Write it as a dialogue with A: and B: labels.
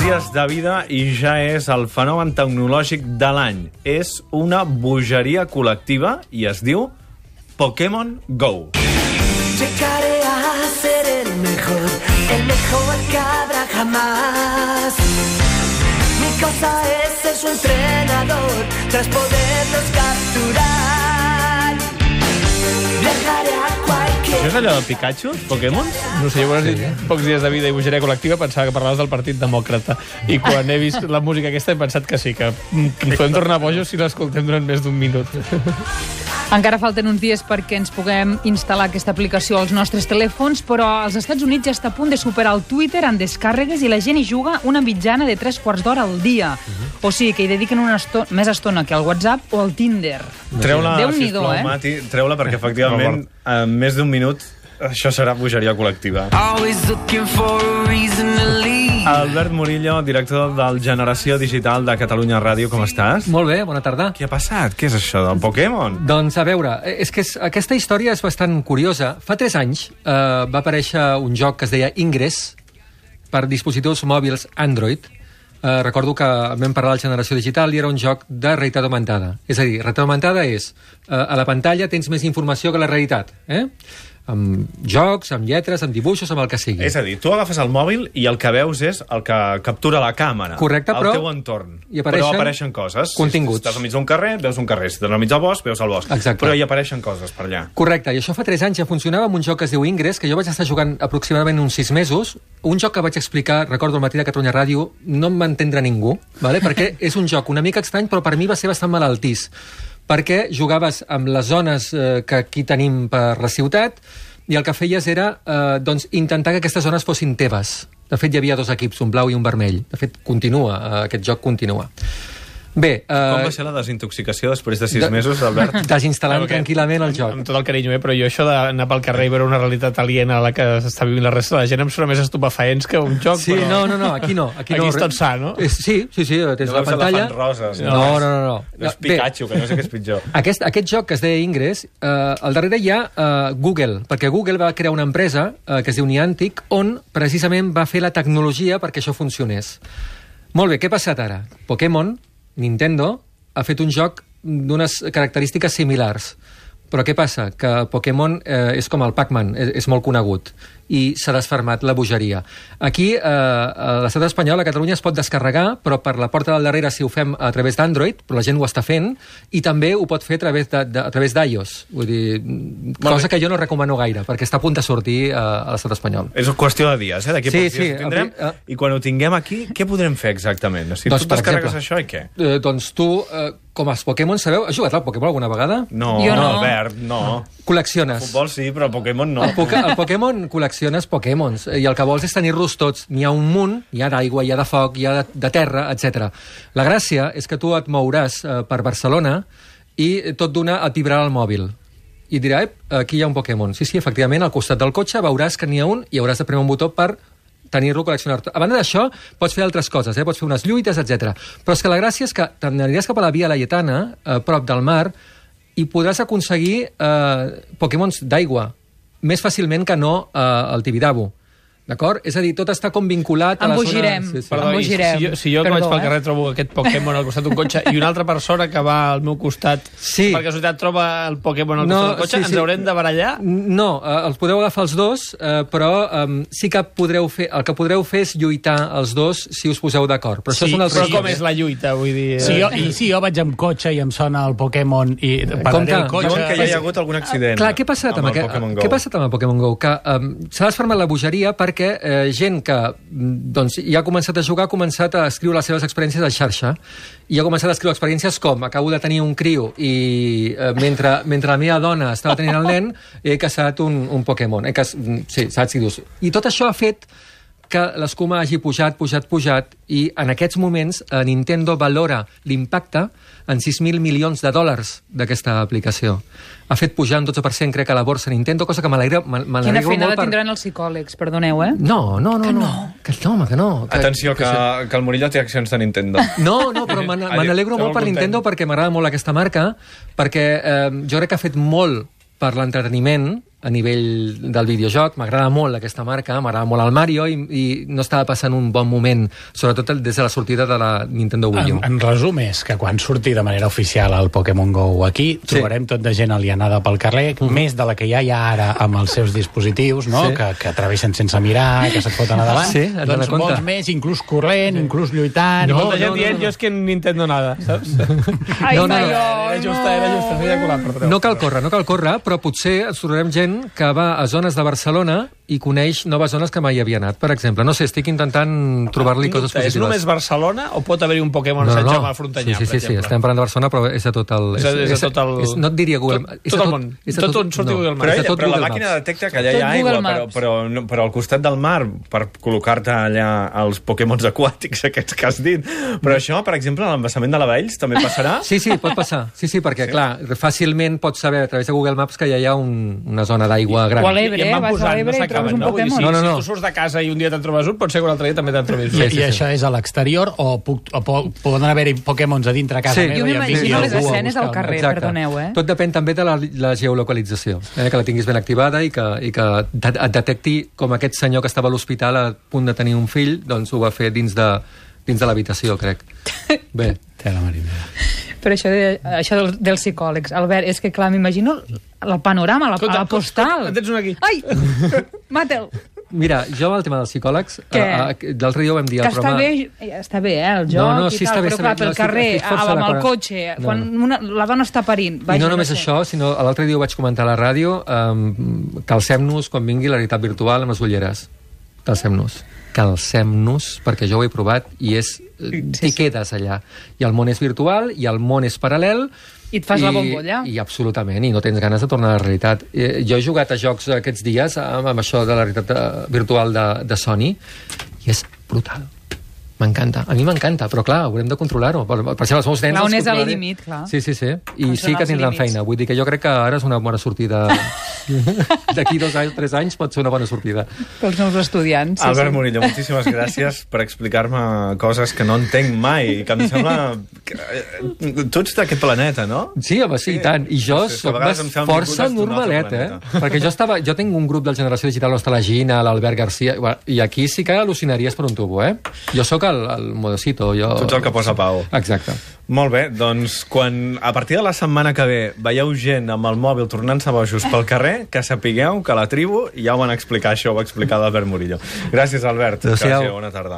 A: dies de vida i ja és el fenomen tecnològic de l'any. És una bogeria col·lectiva i es diu Pokémon GO.
B: Llegaré a ser el mejor, el mejor que habrá jamás. Mi cosa es ser su entrenador, tras poderlos capturar. Viajaré a
A: Això és
B: cualquier...
A: allò de Pikachu, Pokémon?
C: No sé, jo quan has dit pocs dies de vida i bogeria col·lectiva pensava que parlaves del Partit Demòcrata. I quan he vist la música aquesta he pensat que sí, que mm, que ens podem tornar bojos si l'escoltem durant més d'un minut.
D: Encara falten uns dies perquè ens puguem instal·lar aquesta aplicació als nostres telèfons, però als Estats Units ja està a punt de superar el Twitter en descàrregues i la gent hi juga una mitjana de 3 quarts d'hora al dia. O sigui que hi dediquen una esto més estona que al WhatsApp o al Tinder.
A: Treu-la,
D: Déu-n'hi-do,
A: sisplau,
D: eh?
A: Mati, treu-la perquè, efectivament, en més d'un minut això serà bogeria col·lectiva.
B: Always looking for a reason to leave.
A: Albert Murillo, director del Generació Digital de Catalunya Ràdio, com estàs?
E: Molt bé, bona tarda.
A: Què ha passat? Què és això del Pokémon?
E: Doncs a veure, eh, és que és, aquesta història és bastant curiosa. Fa 3 anys eh, va aparèixer un joc que es deia Ingress per dispositius mòbils Android. Eh, recordo que vam parlar de la generació digital i era un joc de realitat augmentada. És a dir, realitat augmentada és eh, a la pantalla tens més informació que la realitat. Eh? Amb jocs, amb lletres, amb dibuixos, amb el que sigui.
A: És a dir, tu agafes el mòbil i el que veus és el que captura la càmera.
E: Correcte,
A: el
E: però-
A: teu entorn.
E: i apareixen
A: però apareixen coses.
E: continguts.
A: Si estàs al mig d'un carrer, veus un carrer. Si estàs al mig del bosc, veus el bosc.
E: Exacte.
A: Però hi apareixen coses per allà.
E: Correcte, i això fa 3 anys ja funcionava amb un joc que es diu Ingress, que jo vaig estar jugant aproximadament uns 6 mesos, un joc que vaig explicar, recordo, al matí de Catalunya Ràdio, no em va entendre ningú, vale? perquè és un joc una mica estrany, però per mi va ser bastant malaltís, perquè jugaves amb les zones eh, que aquí tenim per la ciutat, i el que feies era eh, doncs, intentar que aquestes zones fossin teves. De fet, hi havia dos equips, un blau i un vermell. De fet, continua, eh, aquest joc continua. Bé,
A: Com va
E: eh,
A: ser la desintoxicació després de sis
E: de-
A: mesos, Albert?
E: desinstal·lant
C: Claro que-
E: tranquil·lament el joc.
C: Amb tot el carinyo, eh? però jo això d'anar pel carrer i veure una realitat aliena a la que s'està vivint la resta de la gent em sona més estupefaents que un joc.
E: Sí,
C: però...
E: no, no, no, aquí no. Aquí,
C: Aquí
E: no.
C: és tot sa, no?
E: És, sí, sí, sí, tens
A: No
E: la
A: veus
E: pantalla...
A: elefants roses, no?
E: no, no, no. no.
A: No, és Pikachu, que no sé què és pitjor.
E: Aquest, aquest joc que es deia Ingress, eh, al darrere hi ha eh, Google, perquè Google va crear una empresa eh, que es diu Niantic, on precisament va fer la tecnologia perquè això funcionés. Molt bé, què ha passat ara? Pokémon, Nintendo, ha fet un joc d'unes característiques similars. Però què passa? Que Pokémon eh, és com el Pac-Man, és, és molt conegut i s'ha desfermat la bogeria. Aquí, eh, a l'estat espanyol, a Catalunya, es pot descarregar, però per la porta del darrere si ho fem a través d'Android, però la gent ho està fent, i també ho pot fer a través de- de- a través d'iOS. Vull dir, cosa que jo no recomano gaire, perquè està a punt de sortir eh, a l'estat espanyol.
A: És qüestió de dies, eh? D'aquí a
E: Sí,
A: pocs dies
E: sí,
A: ho tindrem.
E: a pri-
A: I quan ho tinguem aquí, què podrem fer exactament? O sigui, tu et
E: Doncs, per
A: descarregues
E: exemple,
A: això i què?
E: Eh, doncs tu, eh, com els Pokémon, sabeu... Has jugat al Pokémon alguna vegada?
A: No,
D: Jo no.
A: Albert, no.
E: Col·lecciones.
A: Futbol sí, però Pokémon no.
E: El, poca, el Pokémon col·lecciones Pokémons eh, i el que vols és tenir-los tots. N'hi ha un munt, hi ha d'aigua, hi ha de foc, hi ha de, de terra, etc. La gràcia és que tu et mouràs eh, per Barcelona i eh, tot d'una et vibrarà el mòbil i dirà, ep, aquí hi ha un Pokémon. Sí, sí, efectivament, al costat del cotxe veuràs que n'hi ha un i hauràs de premer un botó per tenir-lo, col·leccionar-te. A banda d'això, pots fer altres coses, eh? pots fer unes lluites, etc. Però és que la gràcia és que te n'aniràs cap a la Via Laietana, eh, prop del mar, i podràs aconseguir eh, Pokémons d'aigua més fàcilment que no eh, el Tibidabo. D'acord? És a dir, tot està com vinculat a la zona...
D: Embogirem.
C: Perdó,
D: Em
C: i
D: girem.
C: si jo, si jo que
D: Perdó,
C: vaig pel
D: eh?
C: carrer trobo aquest Pokémon al costat d'un cotxe i una altra persona que va al meu costat
E: Sí.
C: per casualitat troba el Pokémon al costat del cotxe, ens haurem de barallar?
E: No, eh, els podeu agafar els dos, eh, però eh, sí que podreu fer... El que podreu fer és lluitar els dos si us poseu d'acord. Però això
C: Sí,
E: són els
C: però
E: riscos,
C: com és la lluita, vull dir... eh?
F: Si jo, I si jo vaig amb cotxe i em sona el Pokémon i pararé
E: que-
F: el cotxe...
A: Diuen que hi ha hagut algun accident.
E: Clar, què ha passat amb,
A: amb, el
E: amb, aquest,
A: Pokémon Go?
E: què ha passat amb el Pokémon GO? Que um, s'ha desfermat la bogeria perquè eh, gent que mm, doncs, ja ha començat a jugar ha començat a escriure les seves experiències a xarxa i ha començat a escriure experiències com acabo de tenir un criu i eh, mentre, mentre la meva dona estava tenint el nen he caçat un, un Pokémon. He caç... mm, Sí, saps? I, dius... I tot això ha fet que l'escuma hagi pujat, pujat, pujat, i en aquests moments eh, Nintendo valora l'impacte en 6.000 milions de dòlars d'aquesta aplicació. Ha fet pujar un 12%, crec, a la borsa Nintendo, cosa que m'alegra me- me
D: Quina
E: n'alegro
D: feinada
E: molt per...
D: tindran els psicòlegs, perdoneu, eh?
E: No, no, no, no. Que no, home, que no. Que,
A: Atenció, que, que el Murillo té accions de Nintendo.
E: No, no, però me
A: Allà,
E: n'alegro
A: estava
E: molt per
A: content.
E: Nintendo perquè m'agrada molt aquesta marca, perquè eh, jo crec que ha fet molt per l'entreteniment, a nivell del videojoc. M'agrada molt aquesta marca, m'agrada molt el Mario i, i no estava passant un bon moment, sobretot el- des de la sortida de la Nintendo Wii
F: En,
E: U.
F: en resum és que quan surti de manera oficial el Pokémon GO aquí, sí. trobarem tot de gent alienada pel carrer, mm. més de la que hi ha ja ara amb els seus dispositius, no?
E: Sí.
F: Sí. que, que travessen sense mirar, que se't foten a davant.
E: Sí, has d'anar
F: doncs
E: a compte.
F: molts més, inclús corrent, sí. inclús lluitant...
C: No,
F: No,
C: molta
E: no,
C: gent
E: no,
C: dient,
E: no.
C: jo és que en Nintendo nada, saps?
D: Ai,
E: No, no,
D: Maiol,
C: Era justa, era justa, s'havia colat, perdó.
E: No cal córrer, no cal córrer, però potser ens trobarem gent que va a zones de Barcelona i coneix noves zones que mai havia anat, per exemple. No sé, estic intentant trobar-li coses
C: Dubte,
E: positives.
C: És només Barcelona o pot haver-hi un Pokémon no, Sant Jaume a Frontanyà,
E: sí, sí,
C: per
E: sí, sí,
C: exemple?
E: estem parlant de Barcelona, però és a tot el...
C: És a- és a tot el-
E: És, no et diria Google...
C: tot-
E: és a
C: tot el món.
E: és a
C: Tot on surti Google Maps.
E: és
A: Però,
E: a
A: ella,
E: tot
A: però la
E: Google
A: màquina
E: Maps.
A: detecta que allà hi
D: Tot
A: ha
D: Google
A: aigua, però,
D: Maps.
A: però, no, però al costat del mar, per col·locar-te allà els pokémons aquàtics aquests que has dit. Però això, per exemple, a l'embassament de la Valls també passarà?
E: Sí, sí, pot passar. Sí, sí, perquè, sí. clar, fàcilment pots saber a través de Google Maps que ja hi ha un, una zona d'aigua gran.
D: O a l'Ebre,
C: I en van
D: eh? Vas a
C: posant,
D: l'Ebre i
C: s'acaben,
D: trobes un
C: no? Vull dir, Si,
D: Pokémon.
E: No, no,
C: si
E: no.
C: tu surts de casa i un dia te'n trobes un, potser que un altre dia també te'n trobis un.
F: I,
E: Sí,
F: sí, sí, I això és a l'exterior o puc, o po- poden haver-hi pokémons a dintre casa
E: Sí.
F: meva?
E: Jo
F: i em
D: m'imagino
F: vingui
E: les
F: algú a
D: escenes al
F: buscar-me?
D: carrer. perdoneu, eh?
E: Tot depèn també de la, la geolocalització, eh? que la tinguis ben activada i que, i que de- et detecti com aquest senyor que estava a l'hospital a punt de tenir un fill, doncs ho va fer dins de, dins de l'habitació, crec. Bé,
F: Té la Marina.
D: Però això, de, això dels, dels psicòlegs, Albert, és que clar, m'imagino el panorama, la,
C: Escolta,
D: la postal.
C: escolta, en tens un aquí.
D: Ai, mata'l.
E: mira, jo amb el tema dels psicòlegs,
D: Què?
E: eh, eh, l'altre dia ho vam dir
D: Que
E: al
D: està
E: programa...
D: bé, eh, està bé, eh, el joc
E: No, no,
D: i
E: sí,
D: tal,
E: està bé,
D: però
E: està
D: clar,
E: bé.
D: pel
E: No, estic-
D: carrer,
E: estic força
D: amb el
E: d'acord.
D: cotxe, eh,
E: No, no.
D: quan una, la dona està parint.
E: I
D: Vaja,
E: no només
D: sé.
E: això, sinó l'altre dia ho vaig comentar a la ràdio, um, calcem-nos quan vingui la realitat virtual amb les ulleres. Calcem-nos. Calcem-nos, perquè jo ho he provat i és... Sí, t'hi quedes allà. I el món és virtual, i el món és paral·lel...
D: I et fas la bombolla.
E: I absolutament, i no tens ganes de tornar a la realitat. Eh, jo he jugat a jocs aquests dies amb, amb això de la realitat eh, virtual de, de Sony, i és brutal. M'encanta. A mi m'encanta, però clar, haurem de controlar-ho. Per, per això els meus nens...
D: Clar,
E: els
D: on és el
E: controlaré.
D: límit, clar.
E: Sí, sí, sí. I
D: On
E: sí
D: són
E: que
D: els
E: tindran
D: límits?
E: feina. Vull dir que jo crec que ara és una bona sortida. D'aquí dos anys, tres anys pot ser una bona sortida.
D: Pels nous estudiants.
A: Sí, Albert Murillo, moltíssimes gràcies per explicar-me coses que no entenc mai i que em sembla... Que... Tu ets d'aquest planeta, no?
E: Sí, home, sí, i tant. I jo
A: Sí, és que a
E: soc
A: vegades em sembla
E: força
A: vingut d'un
E: normalet,
A: altre
E: eh?
A: planeta.
E: Perquè jo, estava, jo tinc un grup de Generació Digital on està la Gina, l'Albert Garcia, i aquí sí que al·lucinaries per un tubo, eh? Jo sóc el, el modocito. Jo...
A: Tu ets el que posa pau.
E: Exacte.
A: Molt bé, doncs quan a partir de la setmana que ve veieu gent amb el mòbil tornant-se bojos pel carrer, que sapigueu que la tribu ja ho van explicar, això ho va explicar l'Albert Murillo. Gràcies, Albert.
E: Adéu-siau.
A: Gràcies, bona tarda.